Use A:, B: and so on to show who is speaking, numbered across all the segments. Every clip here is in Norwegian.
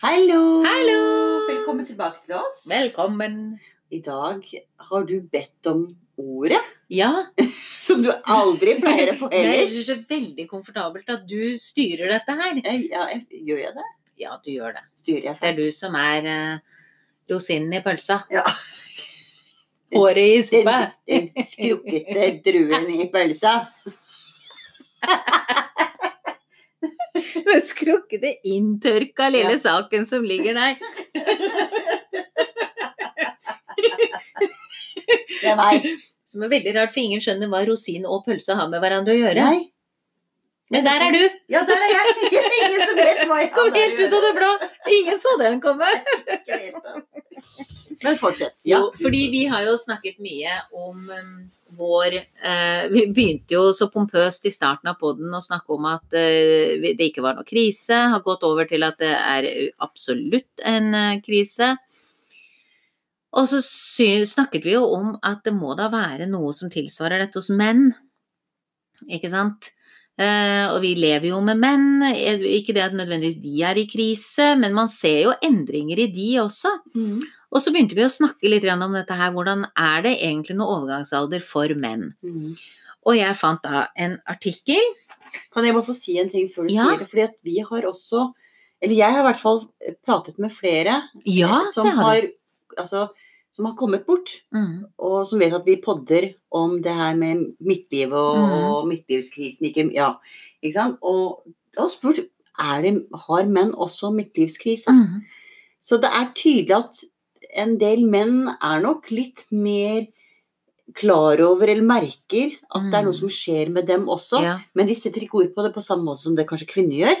A: Hallo!
B: Hallo!
A: Velkommen tilbake til oss.
B: Velkommen.
A: I dag har du bedt om ordet,
B: Ja,
A: som du aldri pleier å få
B: jeg
A: ellers.
B: synes det er veldig komfortabelt at du styrer dette her.
A: Eh, Ja, jeg- gjør jeg det?
B: Ja, du gjør det.
A: Styrer jeg
B: Det er
A: fælt?
B: du som er eh, rosinen i pølsa.
A: Ja.
B: Håret i suppa.
A: Den, den skrukkete druen i pølsa.
B: Den skrukkete, inntørka lille
A: Ja.
B: saken som ligger der.
A: Det er meg.
B: Som er veldig rart, for ingen skjønner hva rosin og pølse har med hverandre å gjøre.
A: Nei.
B: Men der er du!
A: Ja, der er jeg. Det er Ingen som vet hva jeg
B: Kom helt ut av det blå! Ingen så den komme.
A: blå. Men fortsett. Ja.
B: Jo, fordi vi har jo snakket mye om um, vår eh, Vi begynte jo så pompøst i starten av poden å snakke om at eh, vi- det ikke var noe krise. Har gått over til at det er absolutt en eh, krise. Og så sy snakket vi jo om at det må da være noe som tilsvarer dette hos menn. Ikke sant? Eh, og vi lever jo med menn. Eh, Ikke det at nødvendigvis de er i krise, men man ser jo endringer i de også.
A: Mm.
B: Og så begynte vi å snakke litt grann om dette her, hvordan er det egentlig noen overgangsalder for menn?
A: Mm.
B: Og jeg fant da en artikkel.
A: Kan jeg bare få si en ting før du
B: Ja.
A: sier det? Fordi at vi har også, eller jeg har i hvert fall pratet med flere
B: Ja,
A: eh, som,
B: eh, det har du.
A: har, altså, som har kommet bort,
B: Mm.
A: og som vet at vi podder om det her med midtlivet og,
B: Mhm.
A: og midtlivskrisen. Ikke, ja, ikke sant? Og da har jeg spurt er det, har menn også midtlivskrise.
B: Mm.
A: Så det er tydelig at en del menn er nok litt mer klar over eller merker at det er noe
B: Mhm.
A: som skjer med dem også.
B: Ja,
A: Men de setter ikke ord på det på samme måte som det kanskje kvinner gjør.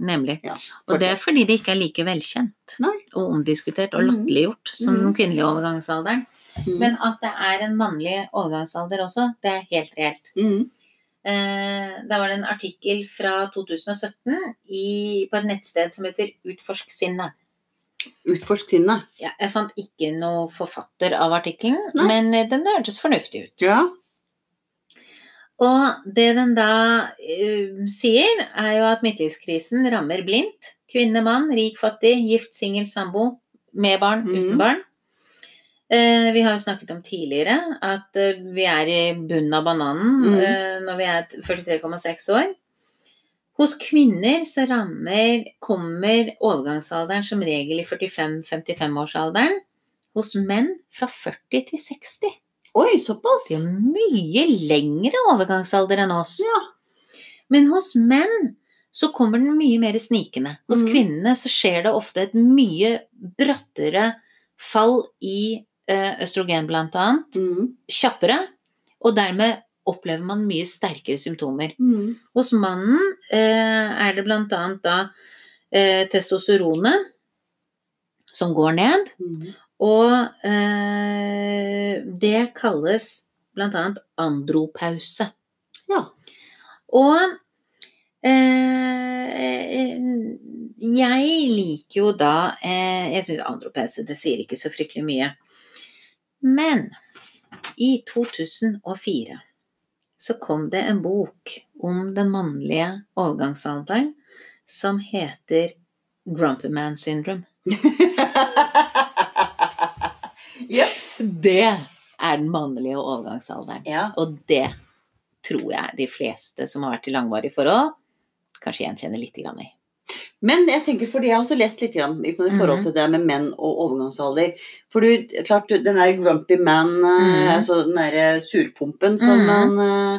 B: nemlig.
A: Ja,
B: og det er fordi det ikke er like velkjent
A: Nei.
B: og omdiskutert og
A: Mhm.
B: latterliggjort som
A: Mhm.
B: den kvinnelige overgangsalderen.
A: Mhm.
B: Men at det er en mannlig overgangsalder også, det er helt reelt.
A: Mhm.
B: Eh, der var det en artikkel fra 2017 i, på et nettsted som heter Utforsk sinnet.
A: Utforsk sinnet.
B: Ja, jeg fant ikke noe forfatter av artikkelen,
A: Nei.
B: men eh, den hørtes fornuftig ut.
A: Ja.
B: Og det den da eh, sier, er jo at midtlivskrisen rammer blindt. Kvinne, mann, rik, fattig, gift, singel, sambo, med barn,
A: Mhm.
B: uten barn. Eh, vi har jo snakket om tidligere at eh, vi er i bunnen av bananen
A: Mhm.
B: eh, når vi er 43,6 år. Hos kvinner så rammer, kommer overgangsalderen som regel i 45-55-årsalderen. Hos menn fra 40 til 60.
A: Oi, såpass!
B: De har mye lengre overgangsalder enn oss.
A: Ja.
B: Men hos menn så kommer den mye mer snikende. Hos
A: Mhm.
B: kvinnene så skjer det ofte et mye brattere fall i eh, østrogen, blant annet.
A: Mhm.
B: Kjappere. Og dermed opplever man mye sterkere symptomer.
A: Mhm.
B: Hos mannen eh, er det blant annet da eh, testosteronet som går ned.
A: Mhm.
B: Og eh, det kalles blant annet andropause.
A: Ja.
B: Og eh, jeg liker jo da eh, Jeg syns andropause, det sier ikke så fryktelig mye. Men i 2004 så kom det en bok om den mannlige overgangsalderen som heter Grumpy Man Syndrome.
A: Jeps.
B: Det er den mannlige overgangsalderen.
A: Ja.
B: Og det tror jeg de fleste som har vært i langvarige forhold, kanskje gjenkjenner litt grann i.
A: Men jeg tenker, fordi jeg har også lest litt grann, liksom, i
B: Mhm.
A: forhold til det med menn og overgangsalder For du, klart, du, den der grumpy man, eh,
B: Mhm.
A: altså den derre surpumpen som,
B: Mhm.
A: man, eh,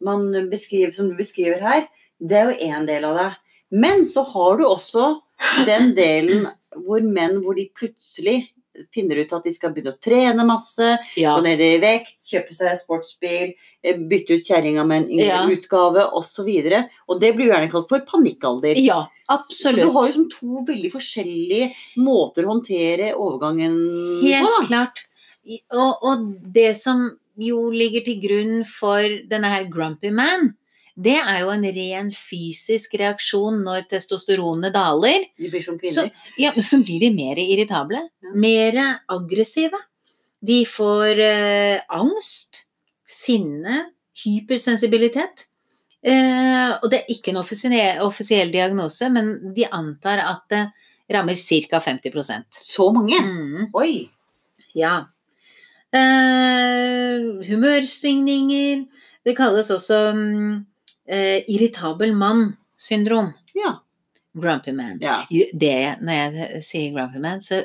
A: man beskriver, som du beskriver her, det er jo én del av det. Men så har du også den delen hvor menn hvor de plutselig finner ut at de skal begynne å trene masse,
B: Ja.
A: gå ned i vekt, kjøpe seg sportsbil, eh, bytte ut kjerringa med en yngre
B: Ja.
A: utgave osv. Og det blir jo gjerne kalt for panikkalder.
B: ja,
A: Så du har jo
B: absolutt.
A: sånn to veldig forskjellige måter å håndtere overgangen på.
B: Helt klart. I- Og, og det som jo ligger til grunn for denne her grumpy man, det er jo en ren fysisk reaksjon når testosteronet daler.
A: da. De blir som
B: Så,
A: kvinner.
B: ja, men så blir de mer irritable,
A: Ja.
B: mer aggressive. De får eh, angst, sinne, hypersensibilitet. Eh, og det er ikke en offisiell, offisiell diagnose, men de antar at eh, rammer ca. 50
A: Så mange?
B: mm,
A: Oi!
B: Ja. Eh, humørsvingninger. Det kalles også mm, eh, irritabel mann-syndrom.
A: Ja.
B: Grumpy man.
A: ja.
B: Det, når jeg sier grumpy man, så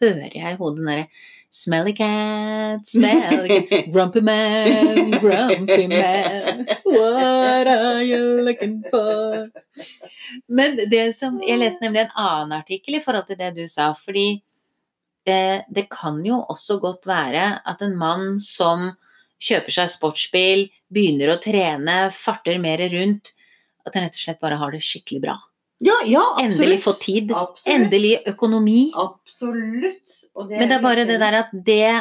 B: hører jeg i hodet den derre Smelly cat, smelly cat. Grumpy man, grumpy man, what are you looking for? Men det som, jeg leste nemlig en annen artikkel i forhold til det du sa, fordi eh, det kan jo også godt være at en mann som kjøper seg sportsbil, begynner å trene, farter mer rundt, at han rett og slett bare har det skikkelig bra.
A: ja, ja, absolutt.
B: Endelig få tid,
A: Absolutt.
B: endelig økonomi.
A: Absolutt. Og
B: Men det er bare det der at det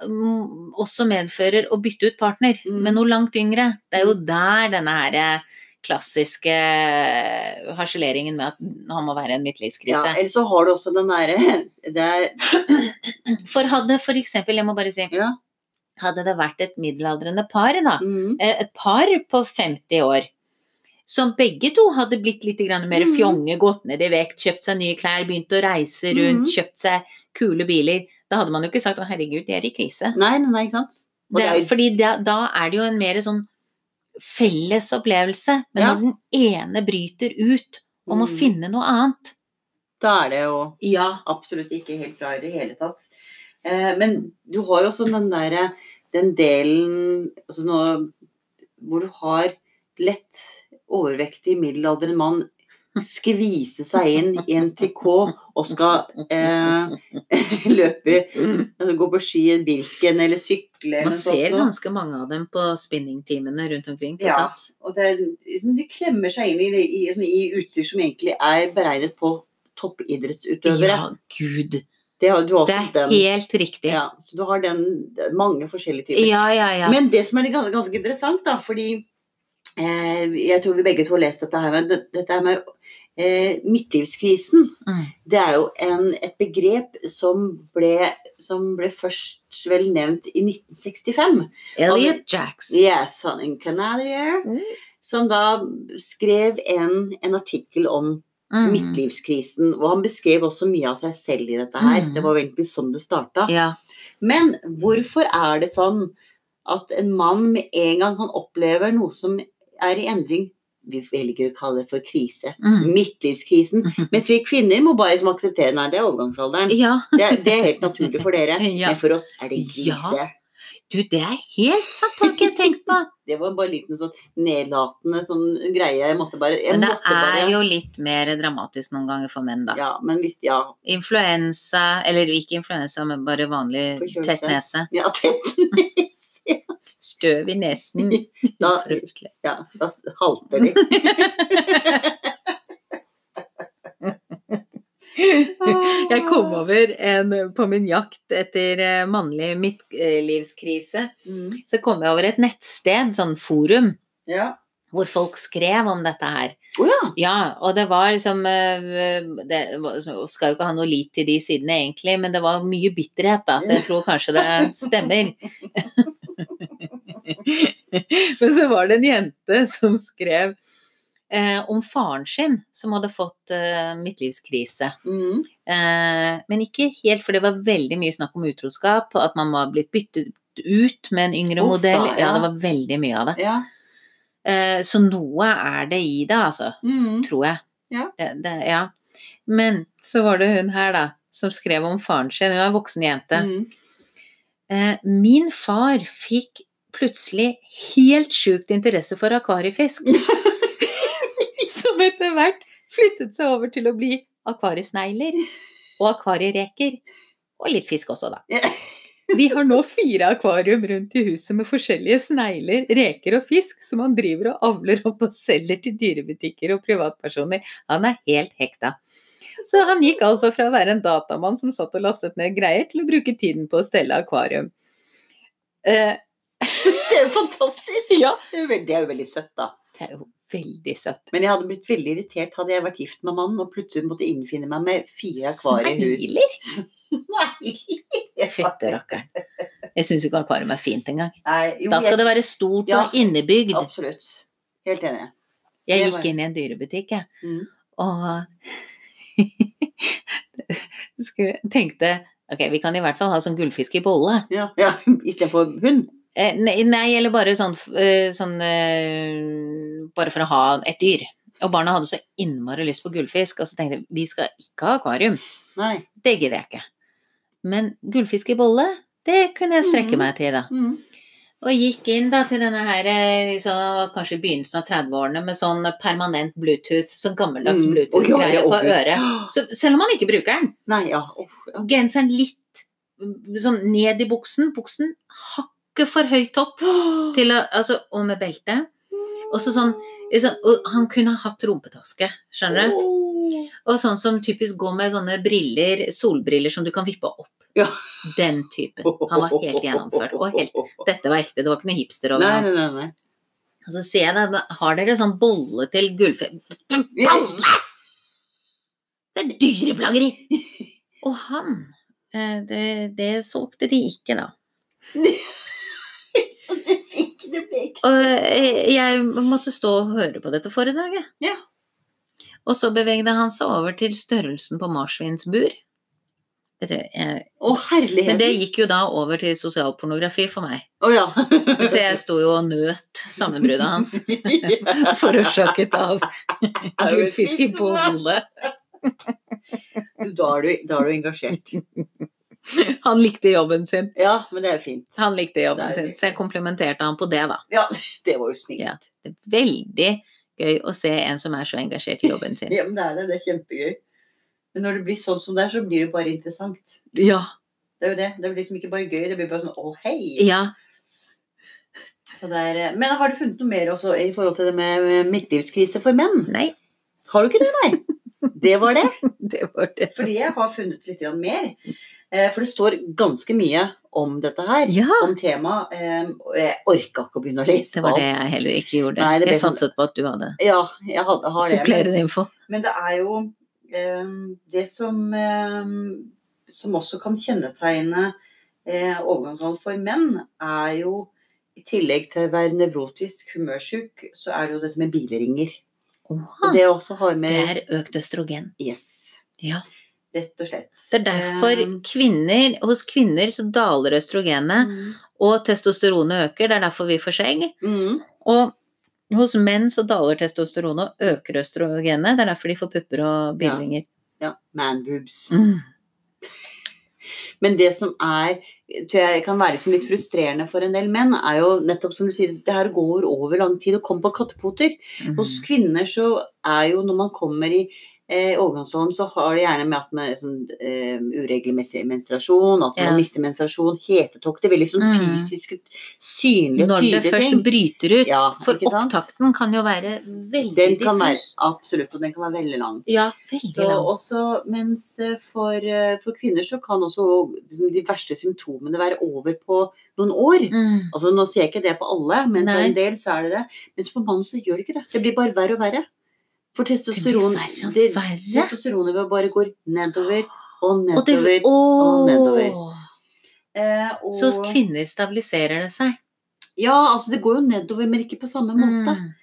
B: mm, også medfører å bytte ut partner
A: Mm.
B: med noe langt yngre. Det er jo der denne her eh, klassiske harseleringen med at han må være i en
A: Ja,
B: midtlivskrise.
A: eller så har du også den derre Det er
B: For hadde for eksempel, jeg må bare si,
A: Ja.
B: hadde det vært et middelaldrende par da,
A: mm,
B: eh, et par på 50 år, som begge to hadde blitt litt grann mer
A: Mhm.
B: fjonge, gått ned i vekt, kjøpt seg nye klær, begynt å reise rundt,
A: Mhm.
B: kjøpt seg kule biler. Da hadde man jo ikke sagt 'Å, herregud, de er i krise'.
A: Nei, nei, nei, ikke sant? Og Mm.
B: Det
A: det er
B: er,
A: jo-
B: fordi da, da er det jo en mer sånn felles opplevelse. Men
A: Ja.
B: når den ene bryter ut og må
A: Mm.
B: finne noe annet
A: Da er det jo
B: Ja.
A: absolutt ikke helt bra i det hele tatt. Eh, men du har jo også den derre Den delen altså nå, hvor du har lett overvektig middelaldrende mann skvise seg inn i en trikot og skal eh, løpe altså Gå på ski i Birken eller sykle eller
B: Mm. Man
A: noe
B: ser
A: noe.
B: ganske mange av dem på spinningtimene rundt omkring på
A: Ja.
B: Sats.
A: Og det, er liksom, de klemmer seg inn i, i, liksom, i utstyr som egentlig er beregnet på toppidrettsutøvere.
B: Ja, gud.
A: Det har du har
B: Det
A: også
B: er
A: den.
B: helt riktig.
A: Ja, så du har den det er mange forskjellige typer.
B: Ja, ja, ja.
A: Men det som er gans- ganske interessant, da, fordi eh, jeg tror vi begge to har lest dette her med, det- dette her med eh, midtlivskrisen.
B: Mm.
A: Det er jo en, et begrep som ble, som ble først vel nevnt i 1965.
B: Elliot Jacks.
A: Yes, han en canadier.
B: Mm.
A: Som da skrev en, en artikkel om
B: Mm.
A: midtlivskrisen. Og han beskrev også mye av seg selv i dette her.
B: Mm.
A: Det var egentlig sånn det starta.
B: Ja.
A: Men hvorfor er det sånn at en mann med en gang han opplever noe som er i endring, vi velger å kalle det for krise.
B: Mm.
A: Midtlivskrisen. Mens vi kvinner må bare liksom akseptere nei, det er overgangsalderen.
B: ja.
A: Det, det er helt naturlig for dere.
B: Ja.
A: Men for oss er det
B: Ja.
A: krise.
B: Du, det er helt sant, har ikke jeg tenkt på.
A: Det var bare en liten sånn nedlatende sånn greie. Jeg måtte bare jeg
B: Men det
A: måtte bare,
B: er jo litt mer dramatisk noen ganger for menn, da.
A: Ja, men hvis Ja.
B: Influensa, eller ikke influensa, men bare vanlig
A: Forkjølelse.
B: tett nese.
A: ja tettnis!
B: Støv i nesen.
A: Da,
B: Fryktelig.
A: ja, da s- halter de.
B: Jeg kom over en, på min jakt etter eh, mannlig midtlivskrise,
A: Mm,
B: så kom jeg over et nettsted, sånn forum,
A: ja.
B: hvor folk skrev om dette her.
A: Å ja.
B: Ja, og det var liksom eh, det var- Skal jo ikke ha noe lit til de sidene egentlig, men det var mye bitterhet, da, så jeg tror kanskje det stemmer. men så var det en jente som skrev eh, om faren sin som hadde fått eh, midtlivskrise.
A: Mm,
B: Eh, men ikke helt, for det var veldig mye snakk om utroskap, at man var blitt byttet ut med en yngre
A: Uff,
B: modell.
A: da,
B: Ja,
A: ja.
B: det var veldig mye av det.
A: ja.
B: Eh, så noe er det i det, altså
A: Mm.
B: tror jeg.
A: Ja.
B: Det, det, ja. Men så var det hun her, da, som skrev om faren sin. Hun er en voksen jente.
A: Mm.
B: Eh, min far fikk plutselig helt sjukt interesse for akvariefisk. som etter hvert flyttet seg over til å bli akvariesnegler og akvariereker. Og litt fisk også, da. Vi har nå fire akvarium rundt i huset med forskjellige snegler, reker og fisk som han driver og avler opp og selger til dyrebutikker og privatpersoner. Han er helt hekta. Så han gikk altså fra å være en datamann som satt og lastet ned greier, til å bruke tiden på å stelle akvarium. Eh,
A: Det er jo fantastisk!
B: ja,
A: Det er jo veld- det er jo veldig søtt, da.
B: det er jo veldig søtt.
A: Men jeg hadde blitt veldig irritert hadde jeg vært gift med mannen og plutselig måtte innfinne meg med fire akvarier i huet.
B: Snegler?
A: Nei!
B: Fytte rakkeren. Jeg syns ikke akvarium er fint engang.
A: Nei, jo,
B: Da skal
A: jeg-
B: det være stort
A: Ja.
B: og innebygd.
A: Absolutt. Helt enig.
B: Jeg
A: det
B: gikk
A: var-
B: inn i en dyrebutikk, jeg.
A: Mm.
B: Og skulle, tenkte ok, vi kan i hvert fall ha sånn gullfisk i bolle.
A: Ja, ja. Istedenfor hund.
B: Eh, nei, nei, eller bare sånn, f- eh, sånn eh, Bare for å ha et dyr. Og barna hadde så innmari lyst på gullfisk, og så tenkte jeg vi skal ikke ha akvarium.
A: Nei.
B: Det gidder jeg ikke. Men gullfisk i bolle, det kunne jeg strekke
A: Mhm.
B: meg til, da.
A: Mm.
B: Og gikk inn da til denne her, eh, liksom, kanskje i begynnelsen av 30-årene, med sånn permanent bluetooth, sånn gammeldags
A: Mm. Å, ja,
B: bluetooth-greie
A: ja,
B: på
A: å, Gud.
B: øret. Så selv om man ikke bruker den,
A: Nei, ja. Uff, ja.
B: genseren litt mm, sånn ned i buksen, buksen hakket for høyt opp, til å, altså, og med belte. Og så sånn, sånn og han kunne ha hatt rumpetaske, skjønner du?
A: Åh.
B: Og sånn som typisk går med sånne briller, solbriller som du kan vippe opp.
A: Ja.
B: Den typen. Han var helt gjennomført. Og helt, dette var ekte, det var ikke noe hipster over
A: Nei,
B: ham.
A: nei, nei. nei.
B: Og så ser jeg det, da har dere sånn bolle til gullfe... Bolle! Det er dyreplageri! Og han, eh, det, det solgte de ikke da.
A: Så du fikk det blek.
B: Og eh, jeg måtte stå og høre på dette foredraget.
A: Ja.
B: Og så bevegde han seg over til størrelsen på marsvinsbur. Vet du, eh,
A: Å, herlighet.
B: Men det gikk jo da over til sosialpornografi for meg.
A: Å ja.
B: Så jeg sto jo og nøt sammenbruddet hans, forårsaket av gullfisk i bolle.
A: Da er, du, da er du engasjert.
B: Han likte jobben sin.
A: Ja, men det er fint.
B: Han likte jobben
A: Det er
B: sin, så jeg komplimenterte han på det, da.
A: Ja, det var jo snilt.
B: Ja. Det er veldig gøy å se en som er så engasjert i jobben sin.
A: Ja, men det er det. Det er kjempegøy. Men når det blir sånn som det er, så blir det bare interessant.
B: Ja.
A: Det er jo det. Det blir liksom ikke bare gøy, det blir bare sånn å, hei.
B: ja.
A: Så det er, eh, men har du funnet noe mer også i forhold til det med med midtlivskrise for menn?
B: Nei,
A: Har du ikke det, nei? Det var det.
B: det var det.
A: Fordi jeg har funnet litt grann mer. Eh, For det står ganske mye om dette her.
B: Ja.
A: Om temaet. eh, og Jeg orka ikke å begynne å lese
B: Det
A: på
B: var det
A: alt.
B: jeg heller ikke gjorde.
A: Nei, det ble
B: jeg
A: sånn-
B: satset på at du hadde
A: Ja, jeg hadde, har det. men-
B: supplerende info.
A: Men det er jo eh, det som, eh, som også kan kjennetegne eh, overgangsalderen for menn, er jo i tillegg til å være nevrotisk humørsjuk, så er det jo dette med bilringer.
B: Åha,
A: Og Ah. det også har
B: det
A: med
B: er økt østrogen.
A: Yes.
B: Ja.
A: Rett og slett.
B: Det er derfor
A: Eh,
B: kvinner, hos kvinner så daler østrogenet,
A: mm,
B: og testosteronet øker. Det er derfor vi får skjegg.
A: mm,
B: Og hos menn så daler testosteronet og øker østrogenet. Det er derfor de får pupper og bilringer.
A: ja. Man boobs.
B: Mm.
A: Men det som er, tror jeg kan være liksom litt frustrerende for en del menn, er jo nettopp som du sier, det her går over lang tid. Og kom på kattepoter.
B: Mm.
A: Mm. Hos kvinner så er jo når man kommer i eh, overgangsalderen, så har det gjerne med at man er sånn, eh, uregelmessig menstruasjon, at
B: Ja.
A: man mister menstruasjon, hetetokter, veldig sånn
B: Mm.
A: fysiske, synlige,
B: Når det
A: tydelige
B: først
A: ting.
B: bryter ut.
A: Ja,
B: for
A: ikke sant?
B: opptakten kan jo være veldig
A: Den kan være
B: diffus.
A: absolutt, og den kan være veldig lang.
B: Ja, veldig
A: Så
B: lang.
A: også, mens eh, for, eh, for kvinner så kan også liksom, de verste symptomene være over på noen år.
B: Mm.
A: Altså, Nå sier jeg ikke det på alle, men på
B: Nei.
A: en del så er det det. Mens for mannen så gjør det ikke det. Det blir bare verre og verre. For
B: Det blir
A: testosteron
B: verre og
A: det-
B: verre.
A: testosteronnivået bare går nedover og
B: Og det,
A: nedover.
B: Åh.
A: nedover. eh, og,
B: Så hos kvinner stabiliserer det seg.
A: Ja, altså det går jo nedover, men ikke på samme måte.
B: Mm.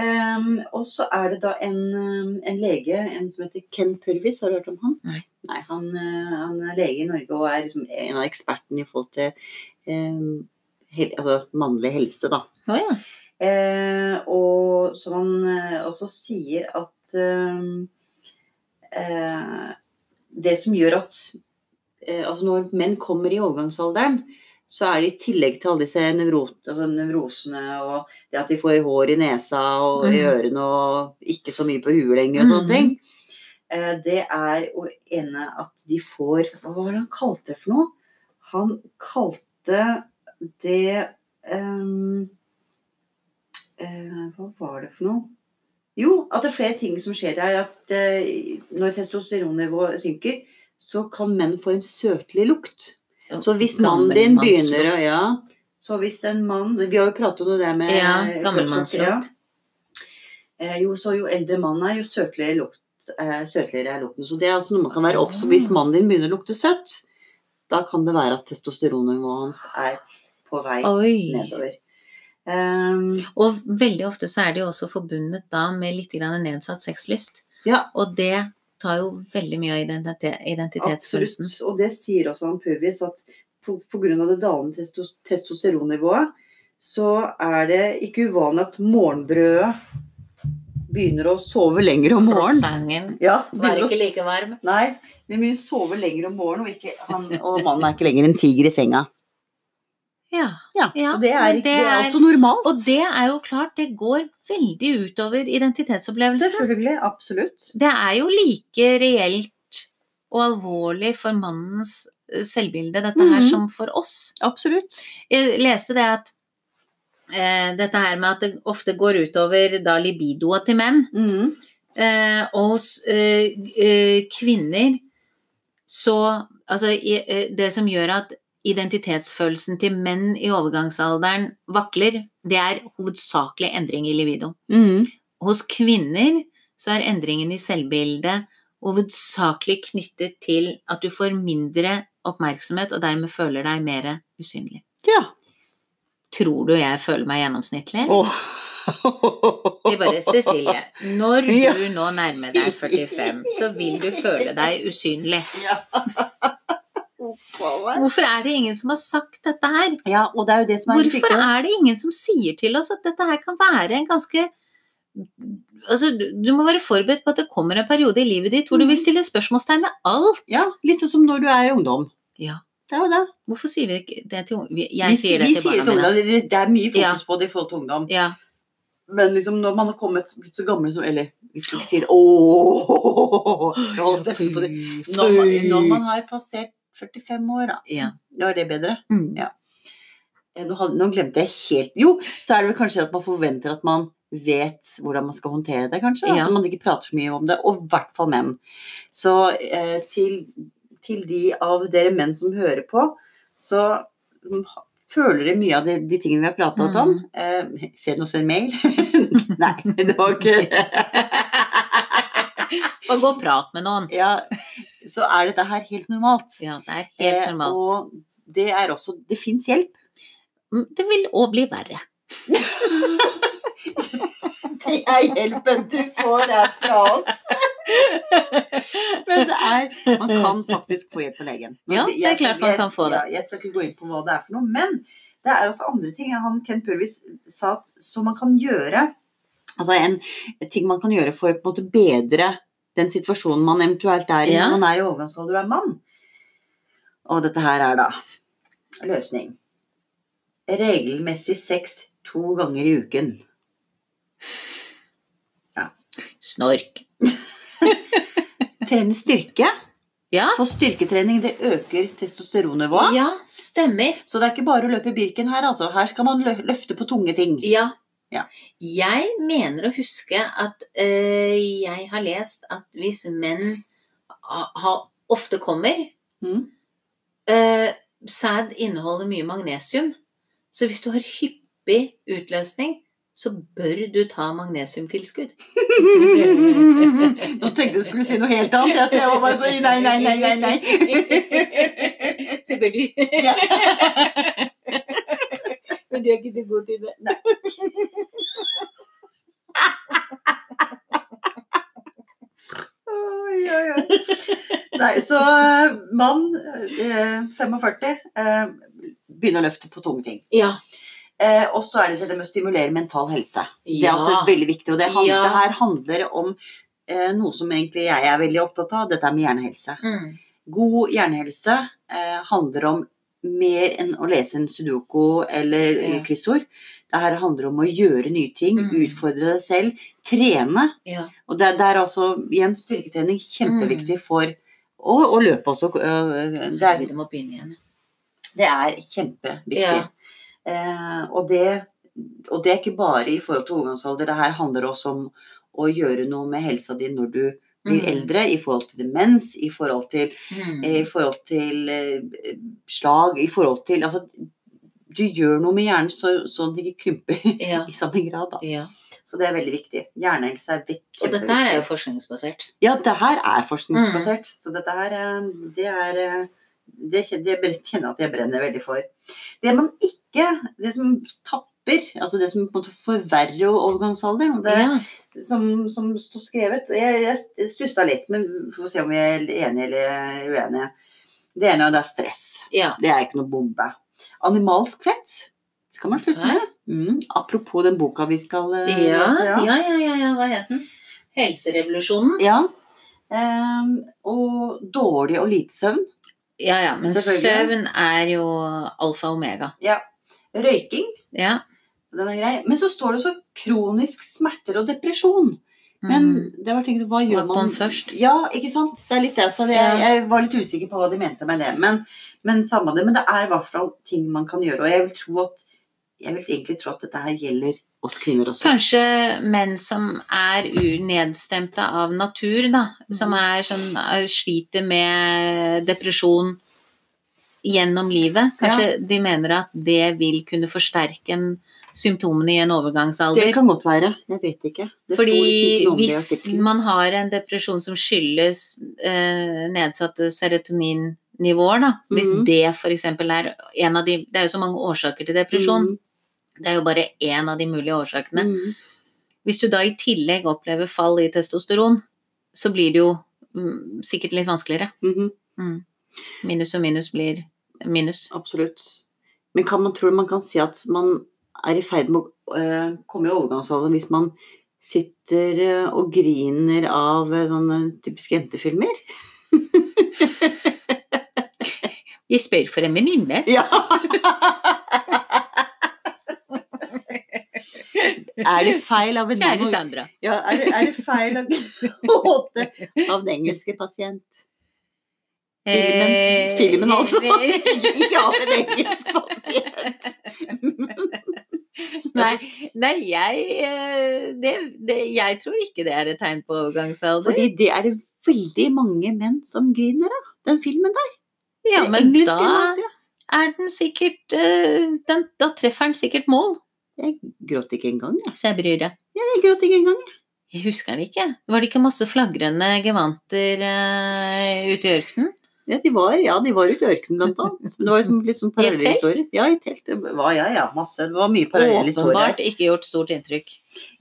A: Ehm, og så er det da en, ehm, en lege, en som heter Ken Purvis, har du hørt om han?
B: Nei.
A: han, eh, han er lege i Norge og er liksom en av ekspertene i forhold til ehm, hel, altså mannlig helse, da.
B: Å ja.
A: Eh, og som han eh, også sier at eh, eh, Det som gjør at eh, Altså når menn kommer i overgangsalderen, så er det i tillegg til alle disse nevro, altså nevrosene og det at de får hår i nesa og i
B: Mhm.
A: ørene og ikke så mye på huet lenger og
B: Mhm.
A: sånne ting, eh, det er å ene at de får Hva var det han kalte det for noe? Han kalte det ehm, eh, Hva var det for noe? Jo, at det er flere ting som skjer der. At eh, når testosteronnivået synker, så kan menn få en søtlig lukt. Så hvis mannen din
B: Gammelmannslukt.
A: begynner å ja, Så hvis en mann Vi har jo pratet om det der med
B: Ja,
A: eh,
B: gammelmannslukt.
A: ja. Eh, Jo, så jo eldre mannen er, jo søtligere, lukt, eh, søtligere er lukten. Så det er altså noe man kan være obs på.
B: Ah.
A: Hvis mannen din begynner å lukte søtt, da kan det være at testosteronnivået hans er på vei
B: Oi.
A: nedover. Ehm,
B: Og veldig ofte så er det jo også forbundet da med litt grann nedsatt sexlyst.
A: Ja.
B: Og det tar jo veldig mye av identite- identitetsfølelsen.
A: Absolutt. Og det sier også han Purvis, at pga. det dalende testo- testosteronnivået, så er det ikke uvanlig at morgenbrødet begynner å sove lenger om morgenen.
B: Croissanten
A: Ja,
B: var
A: begynner å
B: ikke like varm.
A: Nei, de begynner å sove lenger om morgenen, og, ikke, han, og mannen er ikke lenger en tiger i senga.
B: Ja.
A: Ja,
B: Ja,
A: så det er,
B: det
A: ikke, det er
B: er-
A: også normalt.
B: Og det er jo klart, det går veldig utover identitetsopplevelsen.
A: Selvfølgelig. Absolutt.
B: Det er jo like reelt og alvorlig for mannens eh, selvbilde, dette her,
A: Mhm.
B: som for oss.
A: Absolutt.
B: Jeg leste det at eh, dette her med at det ofte går utover da libidoa til menn,
A: Mhm.
B: eh, og hos eh, eh, kvinner så Altså, i, eh, det som gjør at identitetsfølelsen til menn i overgangsalderen vakler, det er hovedsakelig endring i libido.
A: Mhm.
B: Hos kvinner så er endringen i selvbildet hovedsakelig knyttet til at du får mindre oppmerksomhet og dermed føler deg mer usynlig.
A: Ja.
B: Tror du jeg føler meg gjennomsnittlig?
A: Åh.
B: Det er bare Cecilie. Når
A: Ja.
B: du nå nærmer deg 45, så vil du føle deg usynlig.
A: Ja. Uff, hva var det?
B: Hvorfor er det ingen som har sagt dette her?
A: Ja, og det er jo det som er litt
B: Hvorfor
A: viktig.
B: er det ingen som sier til oss at dette her kan være en ganske Altså, du du må være forberedt på at det kommer en periode i livet ditt hvor du vil stille spørsmålstegn ved alt.
A: Mm. Ja, litt sånn som når du er ungdom.
B: Ja.
A: Det er jo det.
B: Hvorfor sier vi ikke det til ungdom? Jeg
A: Vi,
B: sier det
A: vi
B: til
A: sier
B: barna
A: til
B: mine.
A: ungdom, det, det er mye fokus
B: Ja.
A: på det i forhold til ungdom.
B: Ja,
A: Men liksom når man har kommet, blitt så gammel som Eller vi skal ikke si det Ååå Jeg holdt nesten på det. Når man, når man har passert 45 år, da.
B: Ja.
A: Da er det bedre.
B: Mm.
A: Ja. Eh, Nå, hadde, nå glemte jeg helt Jo, så er det vel kanskje at man forventer at man vet hvordan man skal håndtere det, kanskje.
B: Ja.
A: At man ikke prater så mye om det. Og i hvert fall menn. Så eh, til, til de av dere menn som hører på, så mm, ha- føler dere mye av de, de tingene vi har pratet
B: Mm.
A: om. Eh, Send oss en mail. Nei, det var ikke
B: Og gå og prat med noen.
A: ja, Så er dette her helt normalt.
B: Ja, det er
A: Eh,
B: helt normalt.
A: og det er også Det fins hjelp.
B: Mm, Det vil òg bli verre.
A: Det er hjelpen du får der fra oss. Men det er Man kan faktisk få hjelp av legen. Men
B: Ja, det er
A: jeg skal
B: klart man
A: ikke-
B: kan få det.
A: Ja, jeg skal ikke gå inn på hva det er for noe. Men det er også andre ting. Han Ken Purvis sa at som man kan gjøre Altså en ting man kan gjøre for å på en måte bedre den situasjonen man eventuelt er i
B: Ja.
A: når man er i overgangsalder og er mann. Og dette her er da løsning. Regelmessig sex to ganger i uken.
B: Snork.
A: Trene styrke.
B: Ja.
A: For styrketrening det øker testosteronnivået.
B: Ja, stemmer.
A: Så det er ikke bare å løpe Birken her, altså. Her skal man lø- løfte på tunge ting.
B: Ja.
A: Ja.
B: Jeg mener å huske at eh, jeg har lest at hvis menn ha, ha, ofte kommer
A: Mm.
B: eh, Sæd inneholder mye magnesium, så hvis du har hyppig utløsning, så bør du ta magnesiumtilskudd.
A: Nå tenkte jeg du skulle si noe helt annet. Jeg ser jo bare så Nei, nei, nei, nei. nei.
B: Så bør du
A: Ja.
B: Men du er ikke så god til det.
A: Oi, oi, oi. Nei, så eh, mann, eh, 45, eh, begynner å løfte på tunge ting.
B: Ja.
A: Eh, og så er det dette med å stimulere mental helse. Det er
B: Ja.
A: også veldig viktig, og det, handler,
B: Ja.
A: det her handler om eh, noe som egentlig jeg er veldig opptatt av, dette er med hjernehelse.
B: Mm.
A: God hjernehelse eh, handler om mer enn å lese en sudoku eller
B: Ja.
A: ja. kryssord. Det her handler om å gjøre nye ting,
B: Mm.
A: utfordre deg selv, trene.
B: ja. Mm.
A: Og det, det er altså, igjen, styrketrening kjempeviktig for Og, og løpe også. øh, Det er,
B: Herregud, jeg må begynne igjen.
A: det er kjempeviktig.
B: Ja.
A: Eh, og, det, og det er ikke bare i forhold til overgangsalder. Det her handler også om å gjøre noe med helsa di når du blir
B: Mm.
A: eldre, i forhold til demens, i forhold til
B: Mm.
A: eh, i forhold til eh, slag, i forhold til Altså, du gjør noe med hjernen så, så den ikke krymper
B: Ja.
A: i samme grad, da.
B: ja.
A: Så det er veldig viktig. Hjernehelse er vekk.
B: Og dette her er Mm. jo forskningsbasert.
A: Ja, det her er forskningsbasert. Så dette her, eh, det er eh, det kjen- det brenner- kjenner jeg at jeg brenner veldig for. Det man ikke Det som tapper hjelper, altså det som på en måte forverrer overgangsalderen, det,
B: ja.
A: som, som står skrevet. Jeg, jeg stussa litt, men vi får se om vi er enige eller uenige. Det ene er det er stress.
B: ja.
A: Det er ikke noe bombe. Animalsk fett skal man slutte med. Mm. Apropos den boka vi skal eh,
B: Ja,
A: lese.
B: ja, Mm. ja, ja, ja. Hva het den? Helserevolusjonen.
A: ja. Ehm, og dårlig og lite søvn.
B: Ja, ja. Men
A: Selvfølgelig.
B: søvn er jo alfa og omega.
A: Røyking.
B: Ja.
A: Den er grei. Men så står det så kronisk smerter og depresjon. Men
B: Mm.
A: det var tenkt, hva gjør
B: Hva kom
A: man
B: først?
A: Ja, ikke sant? Det er litt det. Så det,
B: Ja.
A: jeg var litt usikker på hva de mente med det. Men, men samme det. Men det er i hvert fall ting man kan gjøre. Og jeg vil tro at jeg vil egentlig tro at dette her gjelder oss kvinner også.
B: Kanskje menn som er u- nedstemte av natur, da. Som er sånn er- sliter med depresjon gjennom livet. Kanskje de mener at det vil kunne forsterke en, symptomene i en
A: Det
B: overgangsalder.
A: kan godt være. Jeg vet ikke. Det sto liksom
B: Fordi
A: ikke noe om det i
B: hvis
A: artikkelen.
B: man har en depresjon som skyldes eh, nedsatte serotoninnivåer, da, hvis
A: Mhm.
B: det f.eks. er en av de Det er jo så mange årsaker til depresjon.
A: Mhm.
B: Det er jo bare én av de mulige årsakene.
A: Mm, mm.
B: Hvis du da i tillegg opplever fall i testosteron, så blir det jo mm, sikkert litt vanskeligere.
A: Mhm,
B: Minus og minus blir minus.
A: Absolutt. Men kan man tro man kan si at man er i ferd med å eh, komme i overgangsalderen hvis man sitter eh, og griner av eh, sånne typiske jentefilmer?
B: Jeg spør for en venninne.
A: Ja! er det feil av en
B: Kjære Sandra.
A: Ja, er det, er det feil av gråte av den engelske pasient? Filmen,
B: Eh,
A: filmen altså. Ikke av en engelsk pasient.
B: Nei, Altså, nei jeg, eh, det, det, jeg tror ikke det er et tegn på overgangsalder.
A: Fordi det er det veldig mange menn som griner av, den filmen der.
B: Ja,
A: Den
B: men
A: engelske
B: da
A: nazi.
B: er den sikkert eh, den, Da treffer den sikkert mål.
A: Jeg gråt ikke engang, jeg.
B: Så jeg bryr det.
A: Jeg gråt ikke engang, jeg.
B: Jeg husker den ikke. Var det ikke masse flagrende gevanter eh, ute i ørkenen?
A: Ja, de var, ja, de var ute i ørkenen, blant annet. Men det var liksom litt sånn
B: I et telt?
A: parallellhistorie. Ja, i telt. Det var, ja, ja, masse. Det var mye parallellhistorie.
B: Åpenbart ikke gjort stort inntrykk.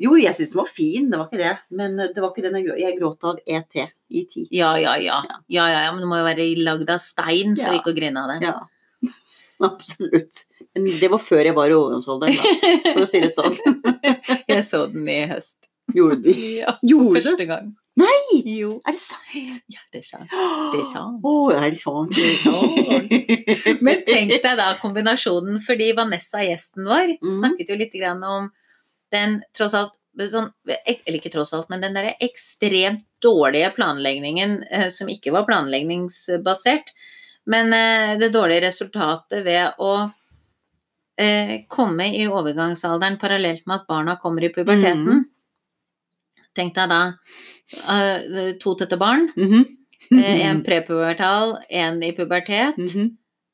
A: Jo, jeg syns den var fin, det var ikke det. Men eh, det var ikke den jeg, grå- jeg gråt av E ET. ET.
B: Ja, ja, ja. ja, ja, ja men det må jo være lagd av stein for
A: Ja.
B: ikke å grine av det.
A: Ja. Absolutt. Men det var før jeg var i overgangsalderen, da, for å si det sånn.
B: Jeg så den i høst.
A: Gjorde de
B: Ja,
A: Gjorde du?
B: første gang.
A: Nei!
B: Jo.
A: Er det sant?
B: Ja, det sa han.
A: Det
B: Det sa han.
A: Å, er det sant?
B: Men tenk deg da kombinasjonen, fordi Vanessa, gjesten vår,
A: Mhm.
B: snakket jo litt grann om den tross alt sånn, Eller ikke tross alt, men den derre ekstremt dårlige planleggingen eh, som ikke var planleggingsbasert, men eh, det dårlige resultatet ved å eh, komme i overgangsalderen parallelt med at barna kommer i puberteten.
A: Mhm.
B: Tenk deg da eh, to tette barn,
A: Mhm.
B: eh, en prepubertal, en i pubertet
A: Mhm.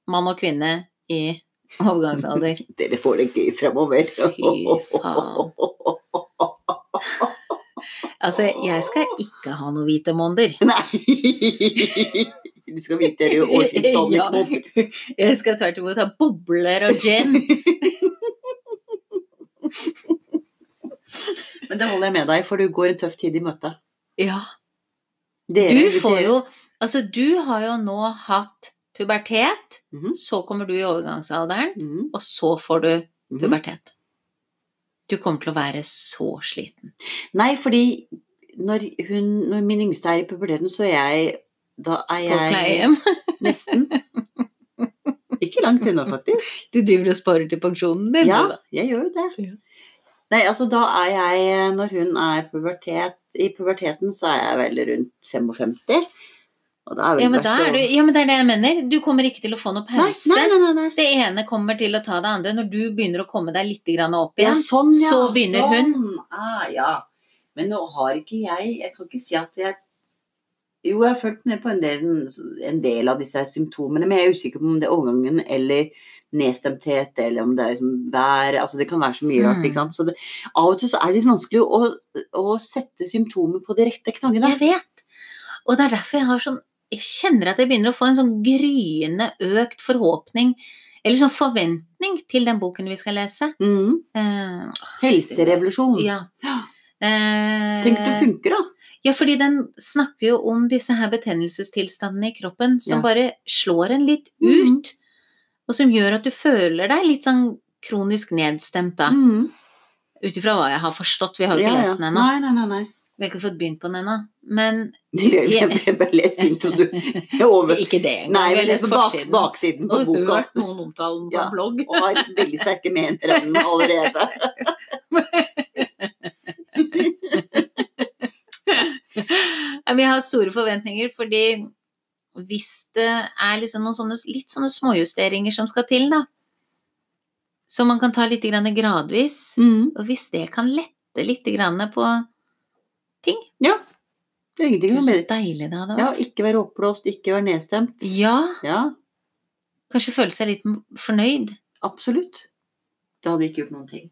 B: mann og kvinne i overgangsalder.
A: Dere får det gøy fremover.
B: Fy faen. Altså, jeg skal ikke ha noe hvite måneder.
A: Nei! Du skal vite det er jo årsintall.
B: Ja. Jeg skal tvert imot ha bobler og gin.
A: Men det holder jeg med deg, for du går en tøff tid i møte.
B: Ja.
A: Dere-
B: Du får jo Altså, du har jo nå hatt pubertet,
A: Mhm.
B: så kommer du i overgangsalderen,
A: Mhm.
B: og så får du
A: Mhm.
B: pubertet. Du kommer til å være så sliten.
A: Nei, fordi når, hun, når min yngste er i puberteten, så er jeg Da er
B: På
A: jeg
B: pleiehjem.
A: Nesten. Ikke langt unna, faktisk.
B: Du driver og sparer til pensjonen din,
A: Ja,
B: du, da.
A: jeg gjør jo det.
B: Ja.
A: Nei, altså da er jeg Når hun er pubertet, i puberteten, så er jeg vel rundt 55. Og da er vel
B: Ja men, da
A: verst
B: er du,
A: å-
B: ja, men det er det jeg mener. Du kommer ikke til å få noe
A: Nei,
B: pause.
A: nei, nei, nei, nei.
B: det ene kommer til å ta det andre. Når du begynner å komme deg litt grann opp
A: Ja,
B: igjen,
A: sånn, ja.
B: så begynner hun.
A: Sånn. Ah, ja. Men nå har ikke jeg Jeg kan ikke si at jeg Jo, jeg har fulgt med på en del, en del av disse symptomene, men jeg er usikker på om det er overgangen eller nedstemthet, eller om det er liksom vær Altså, det kan være så mye rart,
B: Mm.
A: ikke sant. Så det, av og til så er det litt vanskelig å, å sette symptomer på de rette knaggene.
B: Jeg vet. Og det er derfor jeg har sånn Jeg kjenner at jeg begynner å få en sånn gryende økt forhåpning Eller sånn forventning til den boken vi skal lese.
A: Mm.
B: Eh,
A: Helserevolusjon.
B: ja. Eh,
A: Tenk det funker, da.
B: Ja, fordi den snakker jo om disse her betennelsestilstandene i kroppen som
A: Ja.
B: bare slår en litt
A: Mhm.
B: ut, og som gjør at du føler deg litt sånn kronisk nedstemt, da.
A: Mm.
B: Ut ifra hva jeg har forstått, vi har jo ikke
A: Ja, ja.
B: lest den ennå.
A: Nei, nei, nei. nei.
B: Vi har ikke fått begynt på den ennå. Men
A: Jeg, jeg, jeg bare leser introdu... Jeg over...
B: ikke det engang.
A: Nei,
B: vi har
A: jeg
B: lest
A: leser bak,
B: forsiden.
A: baksiden på
B: Og
A: boka.
B: hørt noen omtale den på
A: Ja.
B: en blogg.
A: Og har veldig sterke meninger om den allerede.
B: Ja, Vi har store forventninger, fordi hvis det er liksom noen sånne, litt sånne småjusteringer som skal til, da, som man kan ta litt grann gradvis,
A: Mm.
B: og hvis det kan lette litt grann på
A: Det er ingenting
B: Gud,
A: som
B: Så
A: bedre.
B: deilig det hadde
A: Ja,
B: vært.
A: ikke være oppblåst, ikke være nedstemt.
B: Ja,
A: Ja,
B: kanskje føle seg litt fornøyd.
A: absolutt. Det hadde ikke gjort noen ting.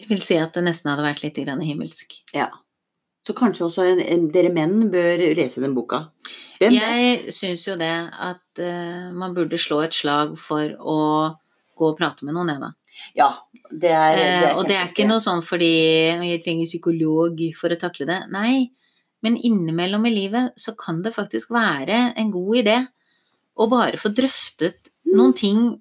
B: Jeg vil si at det nesten hadde vært litt grann himmelsk.
A: Ja. Så kanskje også en, en, dere menn bør lese den boka. Hvem vet?
B: Jeg syns jo det at eh, man burde slå et slag for å gå og prate med noen, jeg, da.
A: Ja, det er,
B: Eh, og det er
A: kjempeviktig.
B: ikke noe sånn fordi jeg trenger psykolog for å takle det. Nei, men innimellom i livet så kan det faktisk være en god idé å bare få drøftet noen ting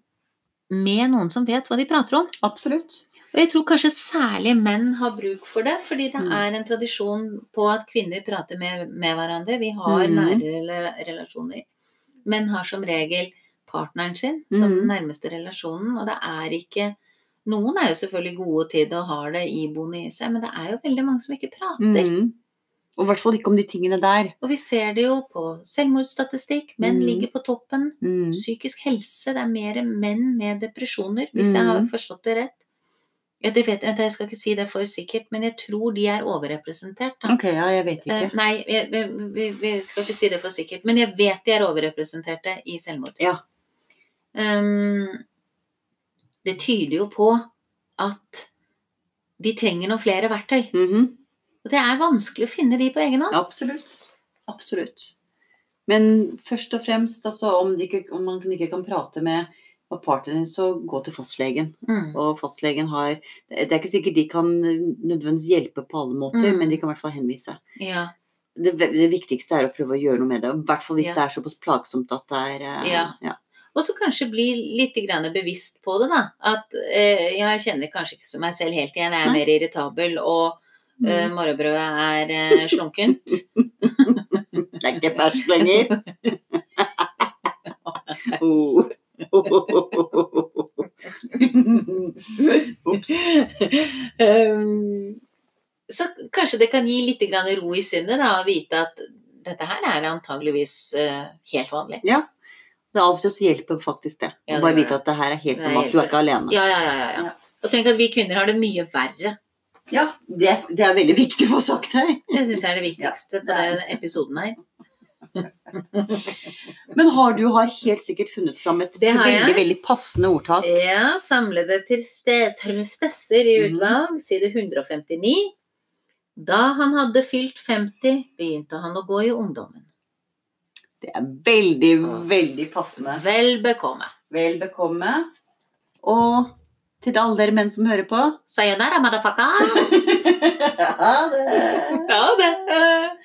B: med noen som vet hva de prater om.
A: Absolutt.
B: Og jeg tror kanskje særlig menn har bruk for det, fordi det
A: Mm.
B: er en tradisjon på at kvinner prater med, med hverandre. Vi har
A: Mm.
B: nære rela- relasjoner. Menn har som regel partneren sin som
A: Mm.
B: den nærmeste relasjonen, og det er ikke Noen er jo selvfølgelig gode til det og har det iboende i seg, men det er jo veldig mange som ikke prater.
A: Mhm. Og i hvert fall ikke om de tingene der.
B: Og vi ser det jo på selvmordsstatistikk. Menn
A: Mm.
B: ligger på toppen.
A: Mhm.
B: Psykisk helse, det er mer menn med depresjoner, hvis jeg
A: Mm.
B: har forstått det rett. Ja, det vet jeg, jeg skal ikke si det for sikkert, men jeg tror de er overrepresentert. Da.
A: Ok, ja, jeg vet
B: Eh,
A: ikke.
B: nei, jeg, vi- vi, vi skal ikke si det for sikkert, men jeg vet de er overrepresenterte i selvmord.
A: Ja.
B: Ehm, det tyder jo på at de trenger noen flere verktøy.
A: Mhm.
B: Og det er vanskelig å finne de på egen hånd.
A: Absolutt. Absolutt. Men først og fremst, altså, om, de ikke, om man ikke kan prate med med partneren din, så gå til fastlegen.
B: Mm.
A: Og fastlegen har Det er ikke sikkert de kan nødvendigvis hjelpe på alle måter,
B: Mm.
A: men de kan i hvert fall henvise.
B: Ja.
A: Det, det viktigste er å prøve å gjøre noe med det. I hvert fall hvis
B: Ja.
A: det er såpass plagsomt at det er eh,
B: Ja.
A: ja.
B: Og så kanskje bli litt grann bevisst på det, da. At eh, jeg kjenner kanskje ikke som meg selv helt igjen. Jeg er
A: Nei.
B: mer irritabel, og eh,
A: Mm.
B: morgenbrødet er eh, slunkent.
A: Det er ikke ferskt lenger. oh. Ops.
B: um, så kanskje det kan gi litt grann ro i sinnet, da, å vite at dette her er antageligvis eh, helt vanlig.
A: Ja. Det er av og til så hjelper faktisk det.
B: Ja,
A: Å
B: det
A: bare
B: gjør
A: vite at det her er helt
B: Det
A: normalt. Du er
B: hjelper.
A: ikke alene.
B: Ja, ja, ja, ja, ja.
A: Ja.
B: Og tenk at vi kvinner har det mye verre.
A: Ja, det, er- det er veldig viktig å få sagt her.
B: Det syns jeg er det viktigste på
A: det
B: den episoden her.
A: Men har du har helt sikkert funnet fram et
B: Det har jeg.
A: veldig veldig passende ordtak.
B: Ja, samlede triste- tristesser i
A: Mhm.
B: utvalg, side 159. Da han hadde fylt 50, begynte han å gå i ungdommen.
A: Det er veldig, veldig passende.
B: Vel bekomme.
A: Vel bekomme. Og til alle dere menn som hører på
B: Sayonara, motherfucker!
A: Ha det!
B: Ha det!